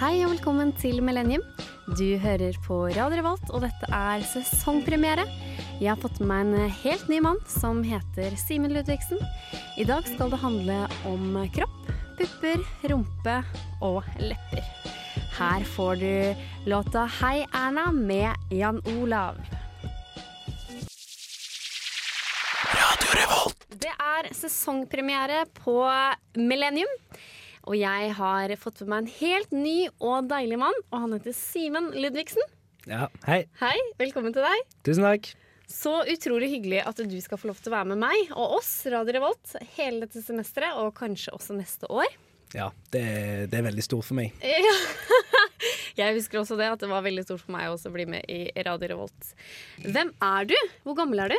Hei og velkommen til Millennium. Du hører på Radio Revolt, og dette er sesongpremiere. Jeg har fått med meg en helt ny mann som heter Simen Ludvigsen. I dag skal det handle om kropp, pupper, rumpe og lepper. Her får du låta 'Hei Erna' med Jan Olav. Det er sesongpremiere på Millennium. Og jeg har fått med meg en helt ny og deilig mann, og han heter Simen Ludvigsen. Ja, Hei, Hei, velkommen til deg. tusen takk. Så utrolig hyggelig at du skal få lov til å være med meg og oss, Radio Revolt, hele dette semesteret, og kanskje også neste år. Ja, det, er- det er veldig stort for meg. Ja. Jeg husker også det, at det var veldig stort for meg også å bli med i Radio Revolt. Hvem er du? Hvor gammel er du?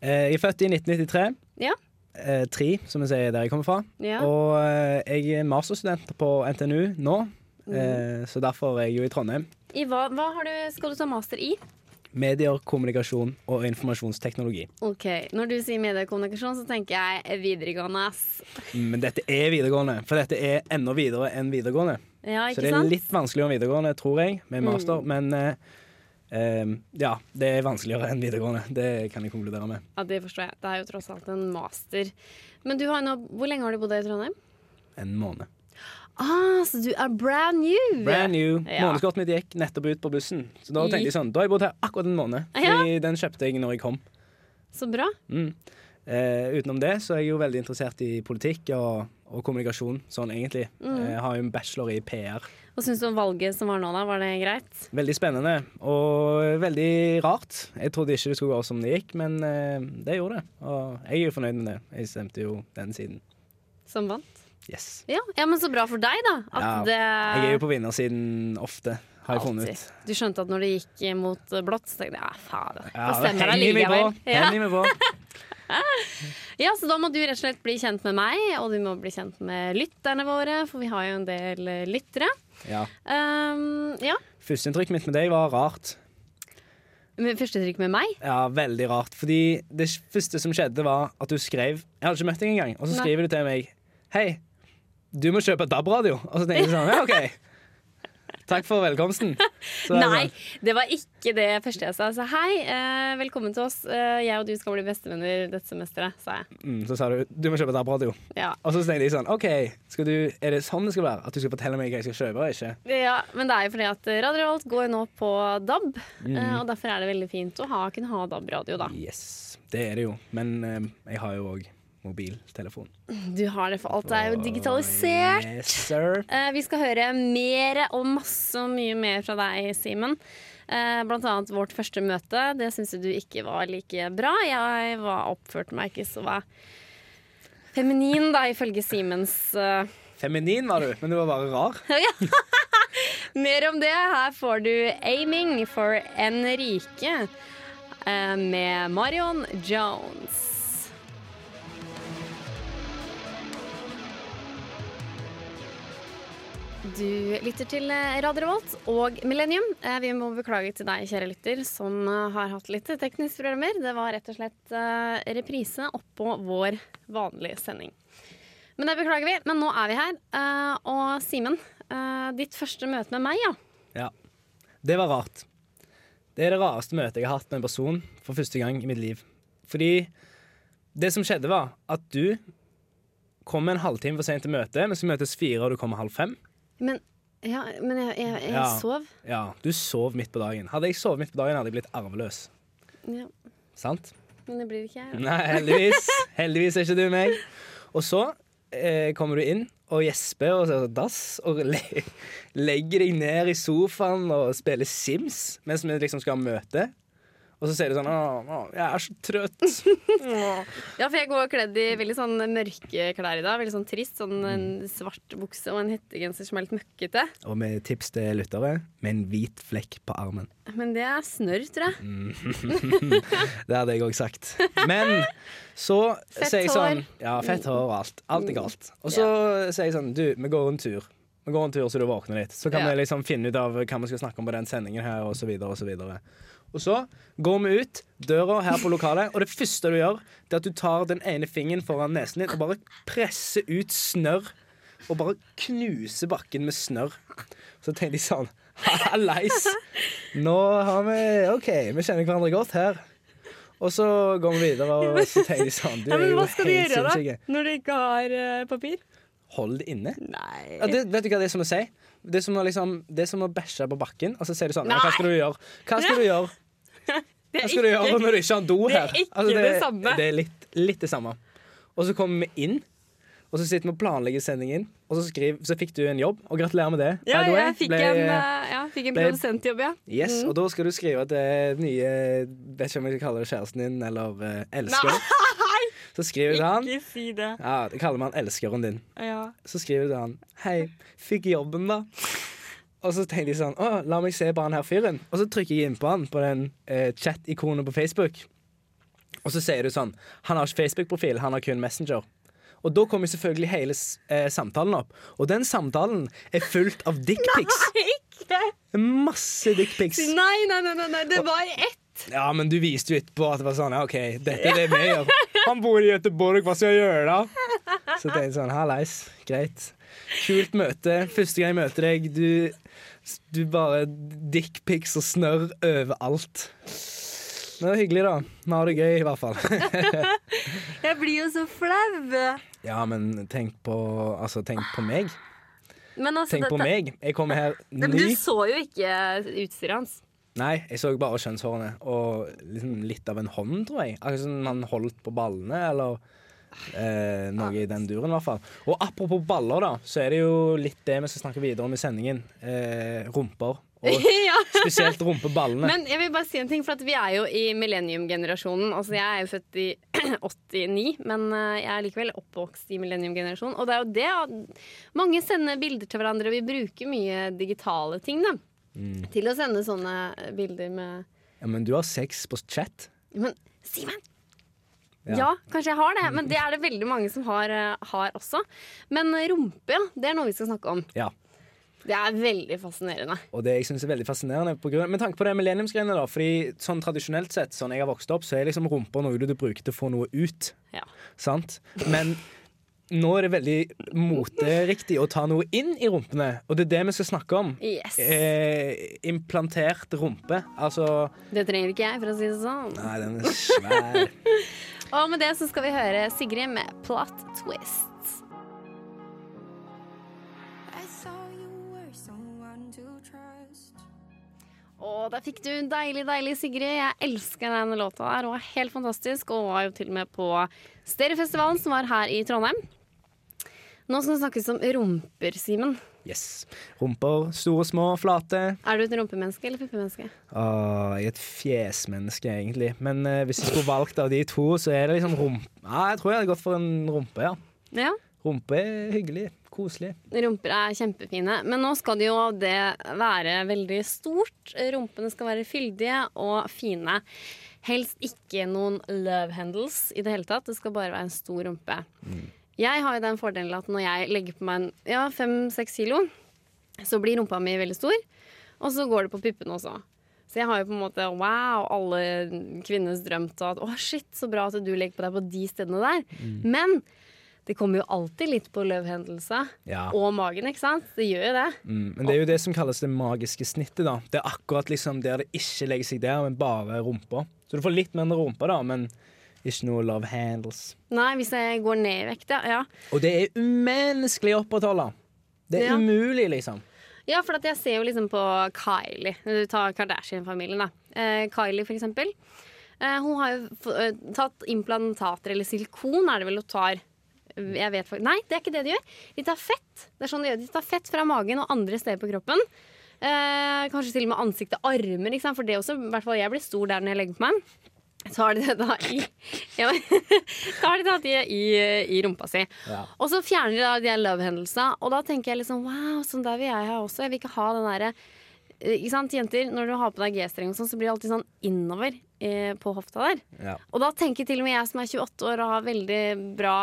Eh, Jeg er født i 1993. Ja. Eh, tre, som jeg sier der jeg kommer fra. Ja. Og eh, jeg er masterstudent på NTNU nå, Mm. eh, så derfor er jeg jo i Trondheim. I hva, hva har du, skal du ta master i? Medier, kommunikasjon og informasjonsteknologi. Ok, Når du sier mediekommunikasjon, så tenker jeg videregående. ass. Men dette er videregående, for dette er enda videre enn videregående. Ja, Så ikke det er sant? Mm. litt vanskeligere enn videregående, tror jeg, med master. Men eh, eh, ja, det er vanskeligere enn videregående. Det kan jeg konkludere med. Ja, Det forstår jeg. Det er jo tross alt en master. Men du har nå, hvor lenge har du bodd i Trondheim? En måned. Ah, Så du er brand new! Brand new. Ja. Månedskortet mitt gikk nettopp ut på bussen. Så da tenkte jeg sånn, da har jeg bodd her akkurat en måned. Ja. Fordi den kjøpte jeg når jeg kom. Så bra. Mm. Eh, utenom det så er jeg jo veldig interessert i politikk og, og kommunikasjon, sånn egentlig. Mm. Eh, Jeg har jo en bachelor i PR. Hva syns du om valget som var nå, da? Var det greit? Veldig spennende og veldig rart. Jeg trodde ikke det skulle gå som det gikk, men eh, det gjorde det. Og jeg er jo fornøyd med det. Jeg stemte jo den siden. Som vant? Yes. Ja, ja men så bra for deg, da. At Ja, det Jeg er jo på vinnersiden ofte, har jeg funnet ut. Du skjønte at når det gikk mot blått, så tenkte jeg ja, fader. Ja, Bestemmer deg henger meg på, likevel. Ja. henger meg på. ja, så da må du rett og slett bli kjent med meg, og du må bli kjent med lytterne våre, for vi har jo en del eh, lyttere. Ja. Um, ja. Førsteinntrykket mitt med deg var rart. Men Førsteinntrykk med meg? Ja, veldig rart. Fordi det første som skjedde, var at du skrev Jeg hadde ikke møtt deg engang. Og så Nei. skriver du til meg Hei, du må kjøpe DAB-radio. Og så tenker jeg sånn Ja, OK. Takk for velkomsten. Så er det Nei, sånn, det var ikke det første jeg sa. Jeg sa hei, eh, velkommen til oss. Eh, jeg og du skal bli bestevenner dette semesteret, sa jeg. mm, så sa du du må kjøpe DAB-radio. Ja. Og så tenkte jeg sånn OK, skal du, er det sånn det skal være? At du skal fortelle meg hva jeg skal kjøpe og ikke? ja, men det er jo fordi at Radio Revolt går jo nå på DAB, Mm. eh, og derfor er det veldig fint å ha, kunne ha DAB-radio, da. Yes, det er det jo. Men eh, jeg har jo òg mobiltelefon. Du har det for alt. Det er jo digitalisert. Yes, sir. Eh, vi skal høre mer og masse og mye mer fra deg, Simen. Eh, blant annet vårt første møte. Det syns jo du ikke var like bra. Jeg var oppførte meg ikke så feminin, da, ifølge Simens. eh. Feminin var du, men du var bare rar. Mer om det. Her får du 'Aiming for Enrique' eh, med Marion Jones. Du lytter til eh, Radio Revolt og Millennium. Eh, Vi må beklage til deg, kjære lytter, som eh, har hatt litt tekniske problemer. Det var rett og slett eh, reprise oppå vår vanlige sending. Men det beklager vi. Men nå er vi her. Eh, Og Simen, eh, ditt første møte med meg, ja. Ja. Det var rart. Det er det rareste møtet jeg har hatt med en person for første gang i mitt liv. Fordi det som skjedde, var at du kom en halvtime for sent til møtet, men så møtes fire, og du kommer halv fem. Men, ja, men jeg, jeg, jeg Ja. sov. Ja, Du sov midt på dagen. Hadde jeg sovet midt på dagen, hadde jeg blitt arveløs. Ja, Sant? men det blir ikke jeg. da. Nei, heldigvis. Heldigvis er ikke du meg. Og så eh, kommer du inn og gjesper og så dass og le legger deg ned i sofaen og spiller Sims mens vi liksom skal ha møte. Og så sier du sånn «Åh, åh, jeg er så trøtt. Ja, for jeg går kledd i veldig sånn mørke klær i dag. Veldig sånn trist. Sånn en Mm. svart bukse og en hettegenser som er litt møkkete. Og med tips til lyttere med en hvit flekk på armen. Men det er snørr, tror jeg. Det hadde jeg òg sagt. Men så Fett sier jeg sånn hår. Mm. Ja, fett hår og alt. Alt er galt. Og så sier jeg sånn Du, vi går en tur. Vi går en tur så du våkner litt. Så kan Ja. vi liksom finne ut av hva vi skal snakke om på den sendingen her, og så videre og så videre. Og så går vi ut døra her på lokalet, og det første du gjør, det er at du tar den ene fingeren foran nesen din og bare presser ut snørr. Og bare knuser bakken med snørr. Så tenkte jeg sånn Hallais! Nå har vi OK, vi kjenner hverandre godt her. Og så går vi videre, og så tenker jeg sånn Du Ja, er men jo hva skal du helt gjøre da, sinnssyk. når du ikke har eh, papir? Hold det inne. Nei. Ja, det, vet du hva det er som å si? Det er som å, liksom, det er som å bæsje på bakken, og så sier du sånn Nei, hva skal du gjøre? Hva skal du gjøre? Det Hva er skal du gjøre når du ikke har do det er her? Altså, ikke det samme. Det er litt, litt det samme. Og så kommer vi inn, og så sitter vi og planlegger sendingen, og så, skriver, så fikk du en jobb, og gratulerer med det. Ja, by the way. jeg fikk Ble- en, eh, ja, fikk en ble- produsentjobb, ja. Yes, Og da skal du skrive til nye Vet ikke om jeg skal kalle det kjæresten din eller eh, elsker. Så skriver du til han Ikke si det. Ja, det kaller man elskeren din. Ja. Så skriver du til han Hei, fikk jobben, da? Og så tenkte jeg sånn Å, la meg se på han her fyren. Og så trykker jeg inn på han på den eh, chat-ikonet på Facebook. Og så sier du sånn Han har ikke Facebook-profil, han har kun Messenger. Og da kommer selvfølgelig hele s- eh, samtalen opp. Og den samtalen er fullt av dickpics. Ikke! Masse dickpics. Nei, nei, nei, nei, nei, det var ett. Ja, men du viste jo etterpå at det var sånn ja, OK, dette er det vi gjør. Han bor i Göteborg, hva skal jeg gjøre da? Så tenkte jeg sånn, hallais, greit. Kult møte. Første gang jeg møter deg, du, du bare dickpics og snørr overalt. Men det var hyggelig, da. Vi har det gøy, i hvert fall. Jeg blir jo så flau. Ja, men tenk på, altså, tenk på meg. Men altså, Tenk på dette- meg. Jeg kommer her Nei, men ny. Du så jo ikke utstyret hans. Nei, jeg så bare kjønnshårene og liksom litt av en hånd, tror jeg. Akkurat som han holdt på ballene, eller eh, noe i den duren, i hvert fall. Og apropos baller, da, så er det jo litt det vi skal snakke videre om i sendingen. Eh, rumper. Og ja. spesielt rumpeballene. Men jeg vil bare si en ting, for at vi er jo i millennium-generasjonen. Altså, jeg er jo født i 89, men eh, jeg er likevel oppvokst i millennium-generasjonen. Og det er jo det at mange sender bilder til hverandre, og vi bruker mye digitale ting da, Mm. til å sende sånne bilder med ja, men du har sex på chat. Men Simen! Ja. Ja. kanskje jeg har det, men det er det veldig mange som har, eh, har også. Men rumpe, ja, det er noe vi skal snakke om. Ja. Det er veldig fascinerende. Og det jeg synes er veldig fascinerende på grunn, Med tanke på det millenniumsgreiene, da. Fordi sånn tradisjonelt sett, sånn jeg har vokst opp, så er liksom rumpa noe du bruker til å få noe ut. Ja. Sant? Men nå er det veldig moteriktig å ta noe inn i rumpene, og det er det vi skal snakke om. Yes. Eh, implantert rumpe. Altså Det trenger ikke jeg, for å si det sånn. Nei, den er svær. Og med det så skal vi høre Sigrid med Plot Twist. I saw you were someone to trust. Og der fikk du deilig, deilig Sigrid. Jeg elsker denne låta her. Hun er helt fantastisk, og var jo til og med på Stereofestivalen som var her i Trondheim. Nå skal det snakkes om rumper, Simen. Yes. Rumper. Store, små, flate. Er du et rumpemenneske eller puppemenneske? Åh, jeg er et fjesmenneske, egentlig. Men eh, hvis jeg skulle valgt av de to, så er det liksom rumpe Ja, jeg tror jeg hadde gått for en rumpe, ja. Ja. Rumpe er hyggelig. Koselig. Rumper er kjempefine, men nå skal det jo det være veldig stort. Rumpene skal være fyldige og fine. Helst ikke noen love handles i det hele tatt. Det skal bare være en stor rumpe. Jeg har jo den fordelen at når jeg legger på meg en ja, fem-seks kilo, så blir rumpa mi veldig stor, og så går det på puppene også. Så jeg har jo på en måte wow, alle kvinners drøm til at å shit, så bra at du legger på deg på de stedene der. Men det kommer jo alltid litt på løvhendelse. Ja. Og magen, ikke sant? Det gjør jo det. Mm, men det er jo det som kalles det magiske snittet. da Det er akkurat liksom der det ikke legger seg der, men bare rumpa. Så du får litt mindre rumpa, da, men ikke noe love handles. Nei, hvis jeg går ned i vekt, ja. ja. Og det er umenneskelig å opprettholde. Det er Ja. umulig, liksom. Ja, for at jeg ser jo liksom på Kylie. Du tar Kardashian-familien, da. Eh, Kylie, for eksempel. Eh, hun har jo f eh, tatt implantater, eller silikon er det vel hun tar. Jeg vet faktisk Nei, det er ikke det de gjør. De tar fett. Det er sånn de gjør. De tar fett fra magen og andre steder på kroppen. Eh, kanskje til og med ansikt og armer, ikke sant? for det er også, i hvert fall jeg blir stor der når jeg legger på meg. tar de det da i ja, men- Tar de da det i, i rumpa si. Ja. Og så fjerner de da de her love-hendelsene. Og da tenker jeg liksom wow, sånn der vil jeg ha også. Jeg vil ikke ha den derre eh, Ikke sant, jenter, når du har på deg G-streng og sånn, så blir det alltid sånn innover eh, på hofta der. Ja. Og da tenker til og med jeg som er 28 år og har veldig bra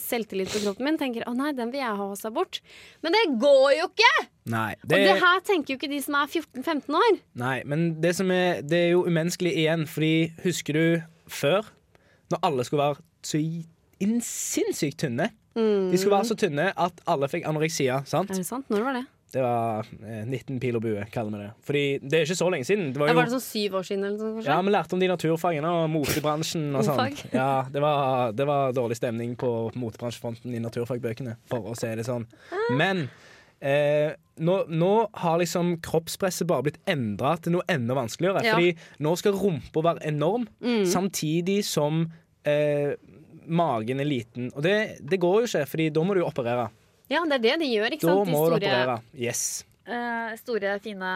selvtillit på kroppen min, tenker å nei, den vil jeg ha hos seg bort. Men det går jo ikke! Nei, Og det, det her tenker jo ikke de som er 14-15 år. nei, men det som er Det er jo umenneskelig igjen, fordi husker du før, når alle skulle være så i- inn- Mm. sinnssykt tynne? De skulle være så tynne at alle fikk anoreksia, sant? Er det sant? Når var det? Det var eh, 19 pil og bue, kaller vi det. Fordi det er ikke så lenge siden. Det var Ja, jo var det sånn syv år siden eller noe sånt, kanskje? Ja, vi lærte om de naturfagene og motebransjen og sånn. Motefag. Ja, det var, det var dårlig stemning på motebransjefronten i naturfagbøkene, for å si det sånn. Ah. Men eh, nå, nå har liksom kroppspresset bare blitt endra til noe enda vanskeligere. Ja. Mm. Fordi nå skal rumpa være enorm, samtidig som eh, magen er liten. Og det, det går jo ikke, Fordi da må du jo operere. Ja, det er det de gjør, ikke Da sant? De må du store, operere. Yes. Eh, store, fine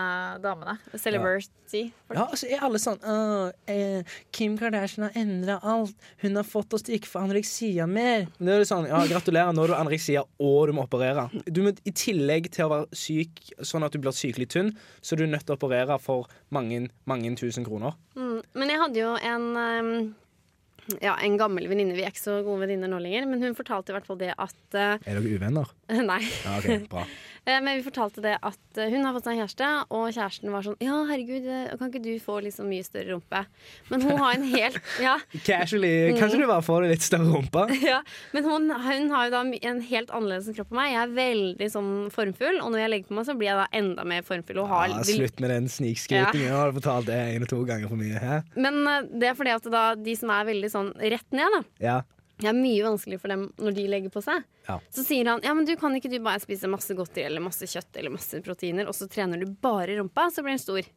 damene. celebrity. Ja, og så er alle sånn «Åh, eh, Kim Kardashian har endra alt. Hun har fått oss til ikke å få anoreksia mer. Men Da er det sånn, ja, Gratulerer, nå har du anoreksia, og du må operere. Du må, I tillegg til å være syk sånn at du blir sykelig tynn, så er du nødt til å operere for mange, mange tusen kroner. Mm. Men jeg hadde jo en eh, ja, en gammel venninne. Vi er ikke så gode venninner nå lenger, men hun fortalte i hvert fall det at eh, Er dere uvenner? Nei. Ja, ok, bra. Eh, Men vi fortalte det at eh, hun har fått seg en kjæreste, og kjæresten var sånn Ja, herregud, eh, kan ikke du få liksom mye større rumpe? Men hun har en helt Ja. Casually, Kanskje du bare får deg litt større rumpe? ja. Men hun, hun har jo da my- en helt annerledes kropp enn meg. Jeg er veldig sånn formfull, og når jeg legger på meg, så blir jeg da enda mer formfull. Og har, Ja, vil- slutt med den snikskrytingen. Nå har du fortalt det én og to ganger for mye. Hæ? Men eh, det er fordi at da, de som er veldig sånn rett ned, da. Ja. Det er mye vanskelig for dem når de legger på seg. Ja. Så sier han ja, men du kan ikke du bare spise masse godteri eller masse kjøtt eller masse proteiner, og så trener du bare rumpa, så blir den stor.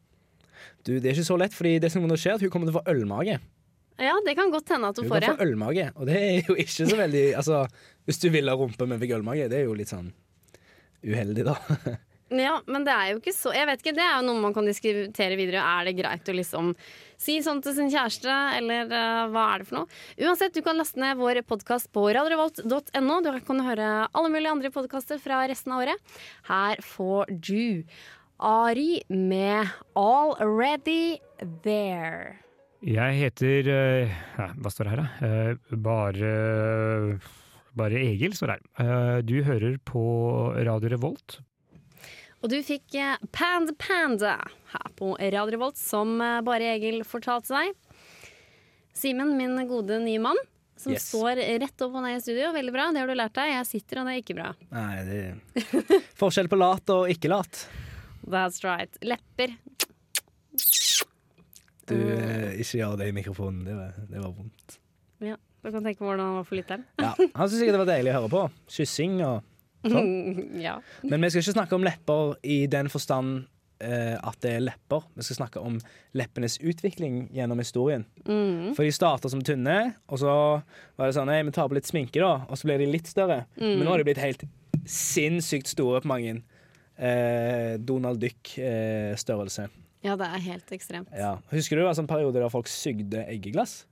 Du, Det er ikke så lett, fordi det som kommer til å skje, er at hun kommer til å få ølmage. Ja, det kan godt hende at hun Du får det. kan få ølmage, og det er jo ikke så veldig Altså, hvis du ville ha rumpe, men fikk ølmage, det er jo litt sånn uheldig, da. Ja, men det er jo ikke så Jeg vet ikke, det er jo noe man kan diskutere videre. Er det greit å liksom si sånn til sin kjæreste, eller eh, hva er det for noe? Uansett, du kan laste ned vår podkast på radiorevolt.no. Du kan høre alle mulige andre podkaster fra resten av året. Her får du Ari med 'Already There'. Jeg heter eh, ja, Hva står det her, da? Eh, Bare Bare Egil står det her. Eh, Du hører på Radio Revolt. Og du fikk eh, Panda Panda her på Radio Revolt, som eh, bare Egil fortalte deg. Simen, min gode nye mann, som Yes. står rett opp og ned i studio. Veldig bra, det har du lært deg. Jeg sitter, og det er ikke bra. Nei, det er Forskjell på lat og ikke lat. That's right. Lepper. Du, eh, ikke gjør det i mikrofonen. Det var, det var vondt. Ja, du kan tenke hvordan han var for lytteren. Ja, Han syntes sikkert det var deilig å høre på. Kyssing og ja. Men vi skal ikke snakke om lepper i den forstand eh, at det er lepper. Vi skal snakke om leppenes utvikling gjennom historien. Mm. For de starter som tynne, og så var det sånn Nei, vi tar på litt sminke, da. Og så blir de litt større. Mm. Men nå har de blitt helt sinnssykt store på mange. Eh, Donald Duck-størrelse. ja, det er helt ekstremt. ja. Husker du det var en sånn periode der folk sugde eggeglass?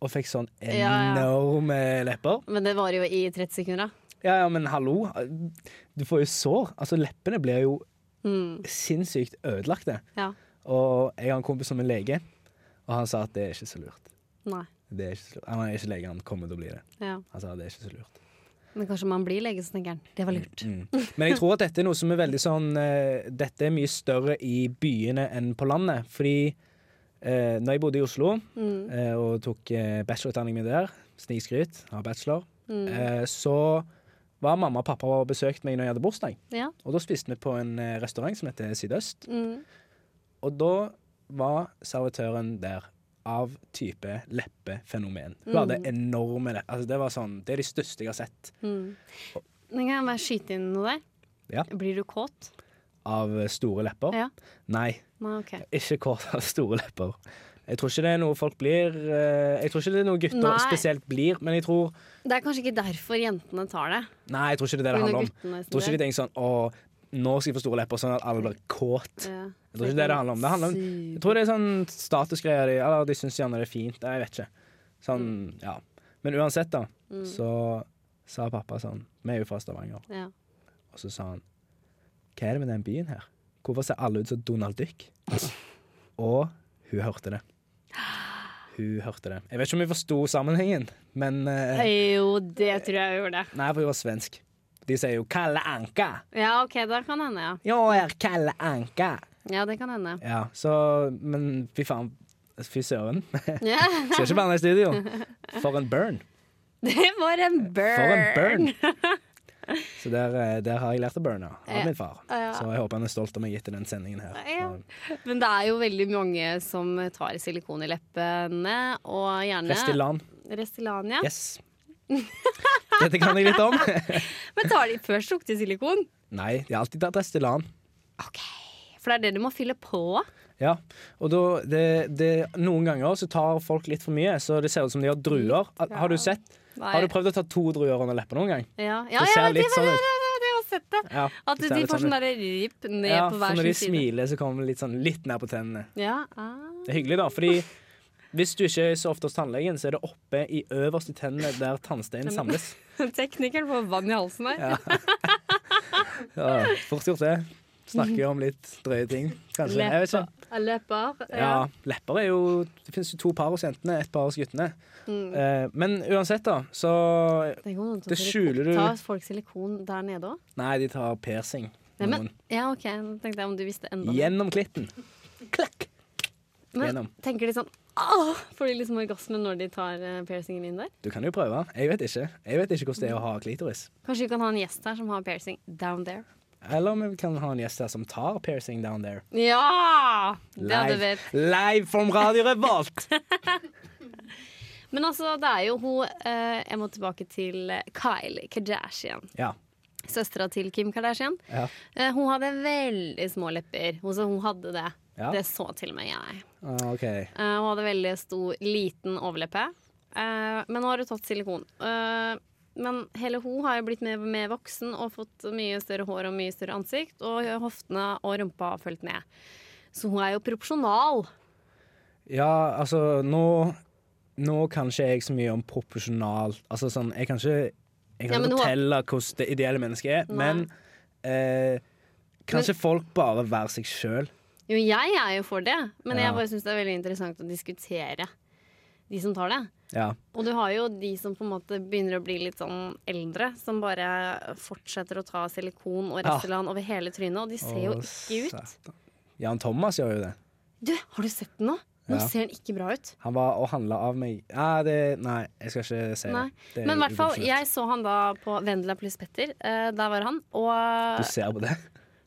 Og fikk sånn ja. enorme lepper? Men det varer jo i 30 sekunder, da. Ja, ja, men hallo. Du får jo sår. Altså, leppene blir jo Mm. sinnssykt ødelagte. Ja. Og jeg har en kompis som er lege, og han sa at det er ikke så lurt. Nei. Det er ikke så lurt. Han er ikke lege, han kommer til å bli det. Ja. Han sa det er ikke så lurt. Men kanskje man blir lege, så tenker han. Det var lurt. Mm. Men jeg tror at dette er noe som er veldig sånn eh, Dette er mye større i byene enn på landet. Fordi eh, når jeg bodde i Oslo eh, og tok eh, bachelorutdanning min der, snikskryt, har bachelor, eh, så var mamma og pappa og besøkte meg når jeg hadde bursdag. Ja. Og da spiste vi på en eh, restaurant som heter Sydøst. Mm. Og da var servitøren der av type leppefenomen. Hun hadde enorme lepper. Altså, det var sånn, det er de største jeg har sett Mm. Men kan jeg bare skyte inn noe der? Ja. Blir du kåt? av eh, store lepper. Ja. Nei, Nei, ok. ikke kort av store lepper. Jeg tror ikke det er noe folk blir eh, Jeg tror ikke det er noe gutter Nei. spesielt blir, men jeg tror Det er kanskje ikke derfor jentene tar det. Nei, jeg tror ikke det er det det På grunn handler av om. guttene Jeg som tror ikke det. de tenker sånn Å, nå skal jeg få store lepper, sånn at alle blir kåt. Ja. Jeg tror ikke det er det det handler om. Det handler om jeg tror det er sånn statusgreier. de- Eller de syns gjerne det er fint. Nei, Jeg vet ikke. Mm. Sånn, ja. Men uansett, da, så sa pappa sånn Vi er jo fra Stavanger. Ja. Og så sa han Hva er det med den byen her? Hvorfor ser alle ut som Donald Duck? Og hun hørte det. Hun hørte det. Jeg vet ikke om hun forsto sammenhengen, men eh, Jo, det tror jeg vi gjorde. Nei, for hun var svensk. De sier jo 'Kalle Anka'. Ja, OK, det kan hende, ja. Jeg er Kalle Anka. Ja, det kan hende. Ja, så Men fy faen. Fy søren. Ja. Skal ikke banne i studio. For en burn. Det var en burn! For en burn. Så der, eh, der har jeg lært å burne Ja. av min far. Ja. Så jeg håper han er stolt av meg etter den sendingen her. Ja. Så Men det er jo veldig mange som tar silikon i leppene, og gjerne Restylan. Restylane, ja. Yes. Dette kan jeg litt om. Men tar de først lukter silikon? Nei, de har alltid tatt Restylan. For det er det du må fylle på. Ja, og da, det, det, Noen ganger så tar folk litt for mye, så det ser ut som de har druer. Har du sett? Nei. Har du prøvd å ta to druer under leppene noen gang? Ja, ja, Det ser ja, det, litt det, sånn det, ut. det, det, jeg har sett det. Ja, At det de ser litt får sånn sånn ut. der rip ned ja, sånn på for hver når de sin side. smiler, så kommer det litt, sånn, litt ned på tennene. Ja, ah. Det er hyggelig, da. fordi hvis du ikke er så ofte hos tannlegen, så er det oppe i øverste tennene der tannsteinen samles. Teknikeren får vann i halsen her. Ja, fort gjort, det. Snakker jo om litt drøye ting, kanskje. Jeg vet ikke. Løper. Ja, lepper er jo Det finnes jo to par hos jentene, et par hos guttene. Mm. Eh, Men uansett, da, så Det, går an å ta Det skjuler silikon- du- Tar folk silikon der nede òg? Nei, de tar piercing. Nei, men, Noen. ja, OK, nå tenkte jeg om du visste enda mer. Gjennom klitten. Klakk! Men gjennom. tenker de sånn Åh! Får de liksom orgasme når de tar eh, piercingen inn der? Du kan jo prøve. Jeg vet ikke Jeg vet ikke hvordan det er å ha klitoris. Kanskje vi kan ha en gjest her som har piercing down there. Eller om vi kan ha en gjest her som tar piercing down there. Ja! Det hadde Live, vært Live from Radio Revolt! Men altså, det er jo hun eh, Jeg må tilbake til eh, Kylie Kardashian. Ja. Søstera til Kim Kardashian. ja. Eh, hun hadde veldig små lepper. Hun, så hun hadde det. Ja. Det så til og med jeg. Ah, OK. Eh, hun hadde veldig stor, liten overleppe. Eh, men nå har hun tatt silikon. Eh, men hele hun har jo blitt mer, mer voksen og fått mye større hår og mye større ansikt. Og hoftene og rumpa har fulgt med. Så hun er jo proporsjonal. Ja, altså nå Nå kan ikke jeg så mye om proporsjonal Altså sånn, jeg kan ikke Jeg Ja, kan men ikke hun- fortelle hvordan det ideelle mennesket er, Nei. men eh, kan ikke folk bare være seg sjøl? Jo, jeg er jo for det, men Ja. jeg bare syns det er veldig interessant å diskutere de som tar det. Ja. Og du har jo de som på en måte begynner å bli litt sånn eldre, som bare fortsetter å ta silikon og Ja. Restylane over hele trynet, og de ser jo Å, ikke ut. satan. Jan Thomas gjør jo det. Du, har du sett den nå? Nå Ja. ser den ikke bra ut. Han var og handla av meg ja, det, Nei, jeg skal ikke si Nei. det. det. er Men i hvert fall, uprofesjonelt. jeg så han da på Vendela pluss Petter. Eh, der var han. Og Du ser på det?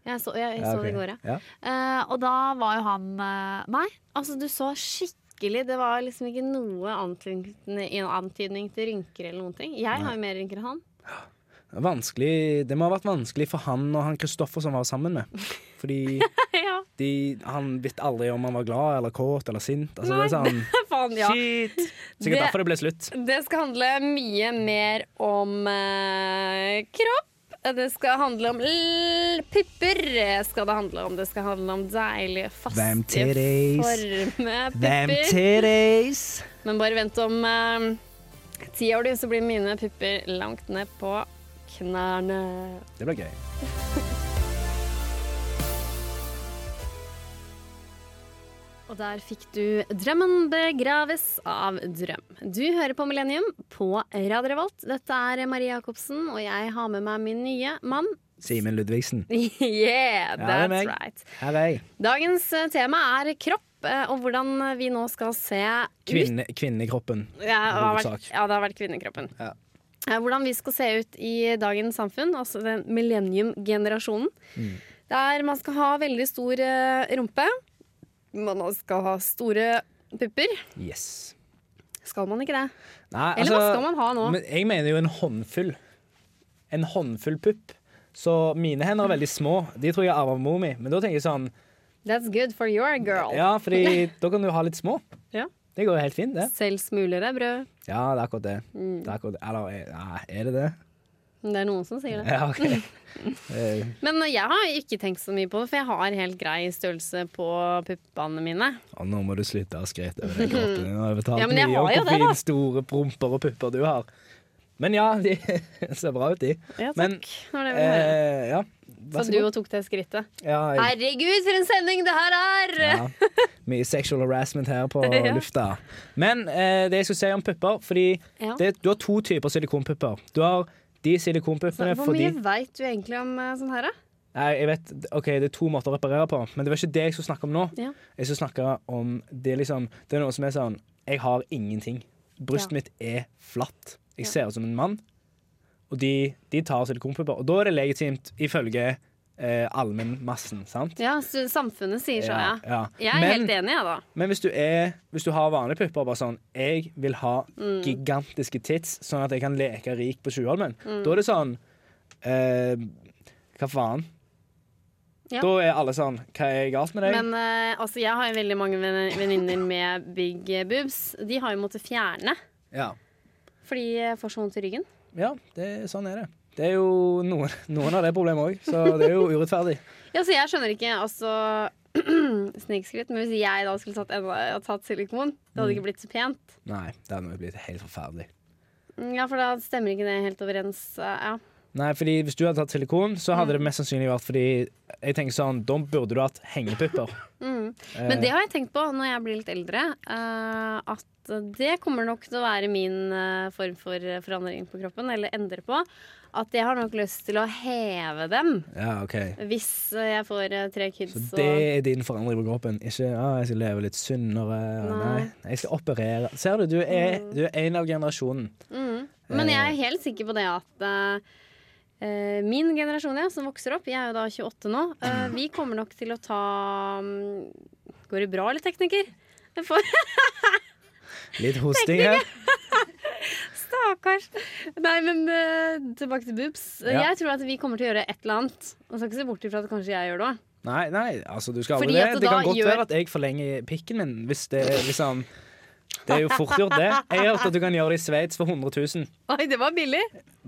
jeg så, jeg, jeg Ja, så ok. det i går, ja. ja. Eh, og da var jo han eh, Nei, altså du så skikkelig Det var liksom ikke noe antydning, en antydning til rynker eller noen ting. Jeg har jo mer rynker enn han. Vanskelig, det må ha vært vanskelig for han og han Kristoffer som var sammen med. Fordi ja, de, han visste aldri om han var glad eller kåt eller sint. Altså, det er sånn, faen, ja. Shit! Sikkert Det- derfor det ble slutt. Det skal handle mye mer om eh, kropp. Det skal handle om l pupper. Skal det handle om Det skal handle om deilige, faste Hvem titties? forme Them pupper. titties! Men bare vent om eh, ti år, du, så blir mine pupper langt ned på knærne. Det ble gøy. Og der fikk du 'Drømmen begraves' av Drøm. Du hører på Millennium på Radio Revolt. Dette er Marie Jacobsen, og jeg har med meg min nye mann. Simen Ludvigsen. yeah, Ja, det er that's meg. right. Her er jeg. Dagens eh, tema er kropp, eh, og hvordan vi nå skal se ut. Kvinne, kvinnekroppen. Ja, det har vært, hovedsak. ja, det har vært kvinnekroppen. Ja. Eh, Hvordan vi skal se ut i dagens samfunn, altså den millennium-generasjonen. Mm. Der man skal ha veldig stor eh, rumpe. Man skal ha store pupper. Yes. Skal man ikke det? Nei, altså, Eller hva skal man ha nå? Men jeg mener jo en håndfull. En håndfull pupp. Så mine hender er veldig små. De tror jeg arver av mor mi. Men da tenker jeg sånn That's good for your girl. Ja, fordi da kan du ha litt små. Ja. Det går jo helt fint, det. Selv smuler er brød. Ja, det er akkurat det. det, er akkurat det. Eller er- nei, er det det? Men Det er noen som sier det. Ja, OK. Eh, Men jeg har ikke tenkt så mye på det, for jeg har helt grei størrelse på puppene mine. Og nå må du slutte å skryte over den kroppen. Nå har jeg betalt Ja, men jeg mye om har jo det, hvor da. fine store promper og pupper du har. Men ja, de ser bra ut, de. Ja, takk. Men, Det var det vi hørte. Eh, ja, så vær så du god. tok det skrittet. Ja, jeg, Herregud, for en sending det her er! ja. Mye sexual harassment her på Ja. lufta. Men eh, det jeg skulle si om pupper Fordi Ja. det, du har to typer silikonpupper. Du har de silikonpuppene Hvor fordi mye veit du egentlig om eh, sånn her, da? Nei, jeg vet, ok, Det er to måter å reparere på, men det var ikke det jeg skulle snakke om nå. Ja. Jeg skulle snakke om det liksom Det er noe som er sånn Jeg har ingenting. Brystet mitt er flatt. Jeg ser ut som en mann, Og de, de tar silikonpupper. Og da er det legitimt ifølge eh, allmennmassen, sant? Ja, så samfunnet sier så, ja. ja. Jeg er Men, helt enig, jeg, da. men hvis, du er, hvis du har vanlige pupper, bare sånn Jeg vil ha Mm. gigantiske tits, sånn at jeg kan leke rik på Tjuvholmen. Mm. Da er det sånn eh, Hva faen? Ja. Da er alle sånn Hva er galt med deg? Men eh, altså, jeg har jo veldig mange ven- venninner med big boobs. De har jo måttet fjerne ja. fordi jeg får så vondt i ryggen. ja, det, sånn er det. Det er jo noen, noen har det problemet òg, så det er jo urettferdig. Ja, så jeg skjønner ikke, altså Snikskritt. Men hvis jeg da skulle tatt, enda- tatt silikon, det hadde Mm. ikke blitt så pent. Nei, det hadde jo blitt helt forferdelig. Mm, Ja, for da stemmer ikke det helt overens. eh, Ja. Nei, fordi hvis du hadde tatt silikon, så hadde det mest sannsynlig vært fordi Jeg tenker sånn, da burde du hatt hengepupper. Mm. Eh, Men det har jeg tenkt på når jeg blir litt eldre. eh, at det kommer nok til å være min eh, form for forandring på kroppen, eller endre på. At jeg har nok lyst til å heve dem Ja, ok hvis eh, jeg får eh, tre kids. Så og- det er din forandring på kroppen. Ikke ja, 'jeg skal leve litt sunnere'. Nei. Nei. jeg skal operere. Ser du, du er, du er en av generasjonen. Mm. Men jeg er helt sikker på det at eh, eh, min generasjon ja, som vokser opp, jeg er jo da 28 nå, eh, vi kommer nok til å ta mm, Går det bra, eller tekniker? Jeg får- Litt hosting her. Stakkars. Nei, men eh, tilbake til boobs. Ja. Jeg tror at vi kommer til å gjøre et eller annet. Man skal ikke se bort ifra at kanskje jeg gjør det òg. Nei, nei, altså du skal aldri Fordi det. at det Det kan da godt gjør- være at jeg forlenger pikken min, hvis det er liksom Det er jo fort gjort, det. Jeg har hørt at du kan gjøre det i Sveits for 100 000. Oi, det var billig.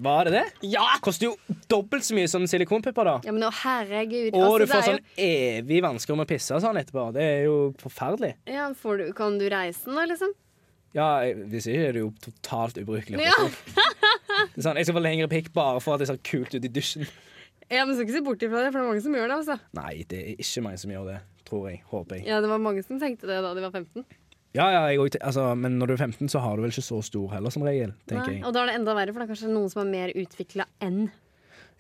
Var det det? Ja! Koster jo dobbelt så mye som silikonpupper, da. Ja, men å, herregud. Og altså, du får det er sånn evig vansker med å pisse og sånn etterpå. Det er jo forferdelig. jo, ja, får du, Kan du reise den, da, liksom? Ja, Hvis ikke er det jo totalt ubrukelig. Ja. Det er sånn, jeg skal få lengre pikk bare for at det ser kult ut i dusjen. ja, men skal ikke se bort ifra det, for det er mange som gjør det, altså. Nei, det er ikke mange som gjør det. Tror jeg. Håper jeg. Ja, det var mange som tenkte det da de var 15. Ja, ja, jeg, også- altså, Men når du er 15, så har du vel ikke så stor heller, som regel. tenker Nei, jeg. og da er det enda verre, for det er kanskje noen som er mer utvikla enn.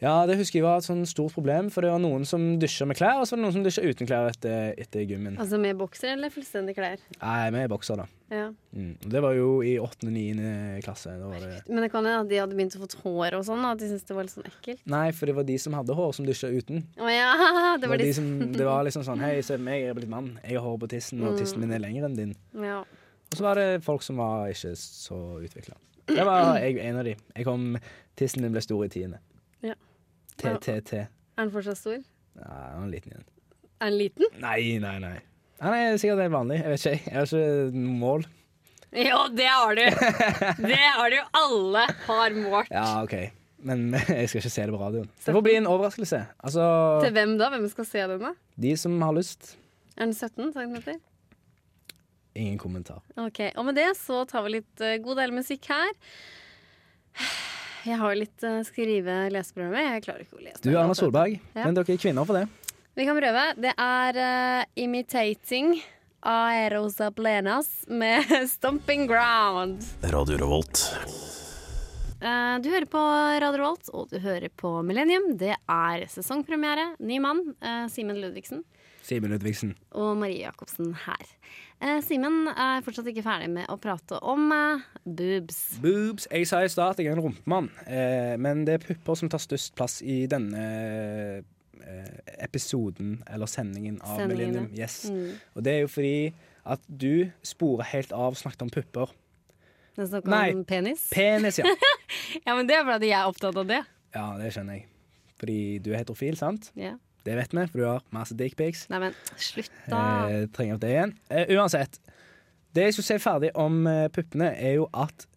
Ja, Det husker jeg var et sånn stort problem, for det var noen som dusja med klær, og så var det noen som dusja uten klær etter, etter gymmen. Altså med bokser eller fullstendig klær. Nei, vi er bokser, da. Ja. Mm. Det var jo i 8.-9. klasse. Da var det Men det kan hende at de hadde begynt å få hår og sånn, og at de syntes det var litt sånn ekkelt. Nei, for det var de som hadde hår, som dusja uten. Å ja, det Det var var, de de som, det var liksom sånn Hei, se på meg, jeg er blitt mann. Jeg har hår på tissen, Mm. og tissen min er lengre enn din. ja. Og så var det folk som var ikke så utvikla. Det var jeg en av de. Jeg kom Tissen min ble stor i tiende. Ja. TTT. Er den fortsatt stor? Nei, han er liten igjen. Er den liten? Nei, nei, nei. Han er sikkert helt vanlig. Jeg vet ikke, jeg. Jeg har ikke noe mål. Ja, det har du! Det har du jo. Alle har målt. Ja, OK. Men jeg skal ikke se det på radioen. Det får bli en overraskelse. Altså, Til hvem da? Hvem skal se den, da? de som har lyst. Er den 17 cm? Ingen kommentar. Ok, Og med det så tar vi litt eh, god del musikk her. Jeg har jo litt eh, skrive-leseprøve. Jeg klarer ikke å lese. Du det, er Erna altså. Solberg, Ja. men dere er kvinner for det. Vi kan prøve. Det er eh, Imitating Aerosa Plenas med Stomping Ground. Radio Revolt. Eh, du hører på Radio Rolt, og du hører på Millennium. Det er sesongpremiere. Ny mann, eh, Simen Ludvigsen. Simen Ludvigsen. Og Marie Jacobsen her. Eh, Simen er fortsatt ikke ferdig med å prate om eh, boobs. Boobs. Jeg sa i stad at jeg er en rumpemann, eh, men det er pupper som tar størst plass i denne eh, episoden, eller sendingen av Sendingen, Millennium. Yes. Og det er jo fordi at du sporer helt av og snakket om pupper. Den snakker Nei. om penis. Penis, ja. Ja, men Det er fordi jeg er opptatt av det. ja, det skjønner jeg. Fordi du er heterofil, sant? Ja. Det vet vi, for du har masse dickpics. Nei, men slutt, da. Eh, trenger ikke det igjen. Eh, uansett. Det jeg skulle si ferdig om eh, puppene, er jo at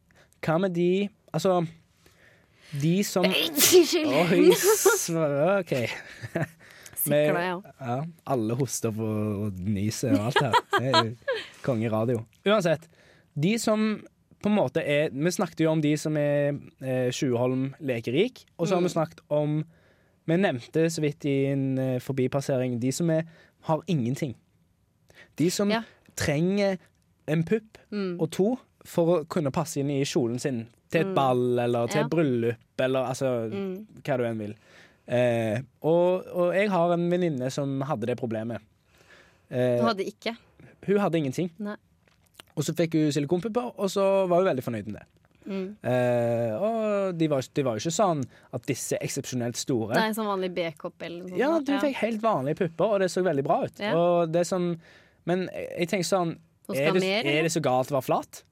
hva med de Altså, de som Unnskyld. Oi, s- OK. Med- Sikla jeg òg. ja, alle hoster på og nyser og alt her. Det er jo konge radio. Uansett. De som på en måte er Vi snakket jo om de som er eh, Tjuvholm lekerik, og så har vi Mm. snakket om Vi nevnte så vidt i en eh, forbipassering de som er, har ingenting. De som Ja. Mm. trenger en pupp og to for å kunne passe inn i kjolen sin til et ball eller til Ja. Mm. et bryllup eller altså hva du enn vil. Eh, og, og jeg har en venninne som hadde det problemet. Eh, Du hadde ikke. Hun hadde ingenting. Nei. Og så fikk hun silikonpupper, og så var hun veldig fornøyd med det. Mm. Eh, og de var, de var jo ikke sånn at disse er eksepsjonelt store. Det er en sånn vanlig B-kopp eller noe Ja, sånt. du fikk helt vanlige pupper, og det så veldig bra ut. Ja. Og det er sånn- men jeg tenker sånn Hun skal er det, mer, eller? er det så galt å være flat?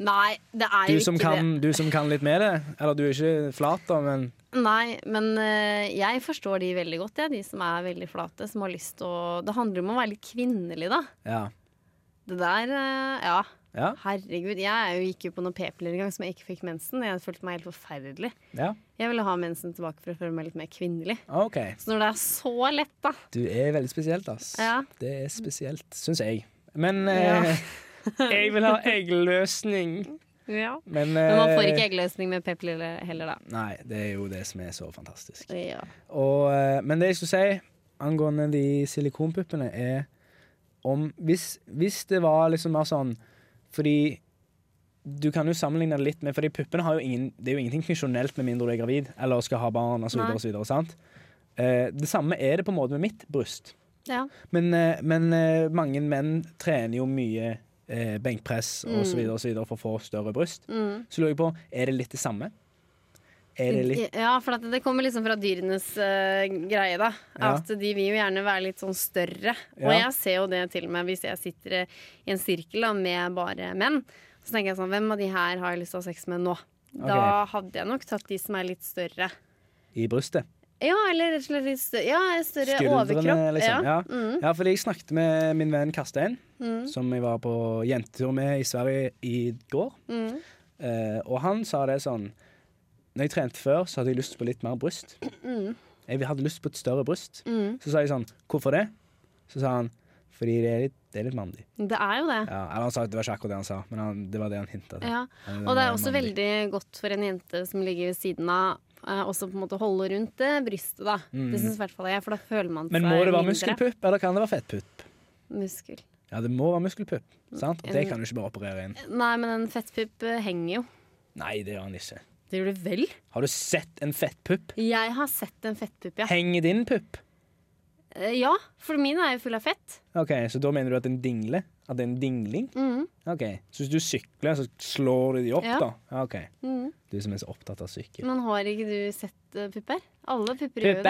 Nei, det er Du jo som, ikke det. kan, du som kan litt med det. Eller du er ikke flat, da, men Nei, men eh, jeg forstår de veldig godt, jeg. De som er veldig flate, som har lyst til å Det handler om å være litt kvinnelig, da. ja. Det der, eh, ja. Ja, Herregud. Jeg er jo, gikk jo på noen p-piller en gang som jeg ikke fikk mensen. Jeg følte meg helt forferdelig. ja. Jeg ville ha mensen tilbake for å føle meg litt mer kvinnelig. OK. Så når det er så lett, da Du er veldig spesielt, ass. Ja. Det er spesielt, syns jeg. Men eh, jeg vil ha eggløsning. Men, eh, Men man får ikke eggløsning med p-piller heller, da. Nei, det er jo det som er så fantastisk. Ja. Og, eh, men det jeg skulle si angående de silikonpuppene, er om hvis, hvis det var liksom mer sånn Fordi du kan jo sammenligne det litt med Fordi puppene har jo ingen Det er jo ingenting funksjonelt med mindre du er gravid eller skal ha barn osv. Nei. Eh, det samme er det på en måte med mitt bryst. ja. Men, eh, men eh, mange menn trener jo mye eh, benkpress og så videre, og så videre for å få større bryst. Mm. Så lurer jeg på, er det litt det samme? Er det litt ja, for at det kommer liksom fra dyrenes eh, greie, da. Ja. At de vil jo gjerne være litt sånn større. Og Ja. jeg ser jo det til meg hvis jeg sitter eh, i en sirkel da, med bare menn. Så tenker jeg sånn, hvem av de her har jeg lyst til å ha sex med nå? Da hadde jeg nok tatt de som er litt større. i brystet? Ja, eller rett og slett litt større, ja, større overkropp. Skuldrene, liksom? Ja. Mm. ja, fordi jeg snakket med min venn Karstein, som jeg var på jentetur med i Sverige i går. Mm. Eh, og han sa det sånn Når jeg trente før, så hadde jeg lyst på litt mer bryst. Mm. Jeg hadde lyst på et større bryst. Mm. Så sa jeg sånn Hvorfor det? Så sa han fordi det er litt, det er litt mandig. Det er jo det. Ja, eller han sa at det var ikke akkurat det han sa, men han, det var det han hinta til. Ja. Han- Og det er han- også han- veldig godt for en jente som ligger ved siden av, eh, også på en måte holde rundt det brystet, da. Det syns i hvert fall jeg, for da føler man seg Mm. Men må det være mindre. muskelpupp, eller kan det være fettpupp? Muskel. Ja, det må være muskelpupp, sant? Og det kan du ikke bare operere inn. Nei, men en fettpupp eh, henger jo. Nei, det gjør han ikke. Det gjør du vel? Har du sett en fettpupp? Jeg har sett en fettpupp, ja. Henger din pupp? Eh, Ja, for min er jo full av fett. Ok, så da mener du at en dingle? At det er en dingling? Mhm. Ok, så hvis du sykler, så slår du de opp Ja. da? Ja, Ok, Mhm. du som er så opptatt av sykkel. Men har ikke du sett eh, pupper? Alle pupper gjør jo det.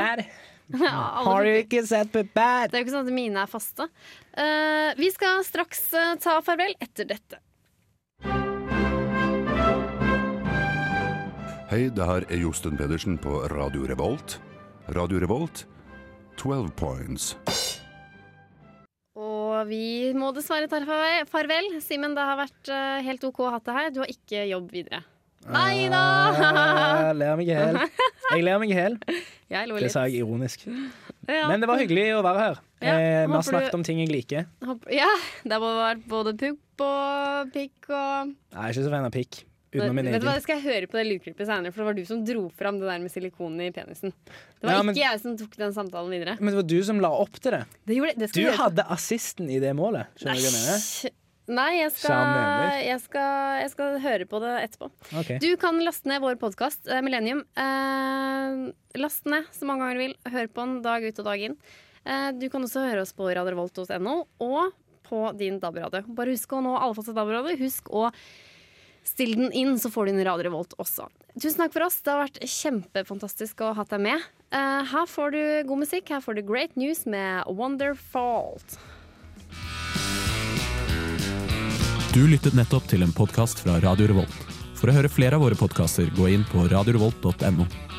Pupper! Ja, alle Har du pupper. ikke sett pupper? Det er jo ikke sånn at mine er faste. Eh, vi skal straks eh, ta farvel etter dette. Hei, det her er Josten Pedersen på Radio Revolt. Radio Revolt, 12 points. Og vi må dessverre ta farve- farvel. Simen, det har vært eh, helt OK å ha deg her. Du har ikke jobb videre. Nei da! Ah, Ler meg i hel. Jeg ler meg i hel. Jeg lo Det litt. sa jeg ironisk. Ja. Men det var hyggelig å være her. Ja, eh, vi har håper du- snakket om ting jeg liker. Håper- Ja, det har vært både pupp og pikk og Nei, jeg er ikke så fan av pikk. Utenom min Vet egen. du hva, Det skal jeg høre på det lydklippet senere, for det var du som dro fram det der med silikonen i penisen. Det var Ja, men- ikke jeg som tok den samtalen videre. Men det var du som la opp til det. Det gjorde, det skal Du jeg høre på. hadde assisten i det målet. Skjønner du hva jeg mener? Nei, jeg skal, Samme jeg, skal, jeg skal høre på det etterpå. Ok. Du kan laste ned vår podkast, Millennium. Eh, last den ned så mange ganger du vil. Hør på den dag ut og dag inn. Eh, du kan også høre oss på radiorevolt.no og på din DAB-radio. Bare husk å nå alle faste DAB-radio. Husk å stille den inn, så får du inn Radio Revolt også. Tusen takk for oss. Det har vært kjempefantastisk å ha deg med. Eh, her får du god musikk. Her får du Great News med Wonderfalt. Du lyttet nettopp til en podkast fra Radio Revolt. For å høre flere av våre podkaster, gå inn på radiorevolt.no.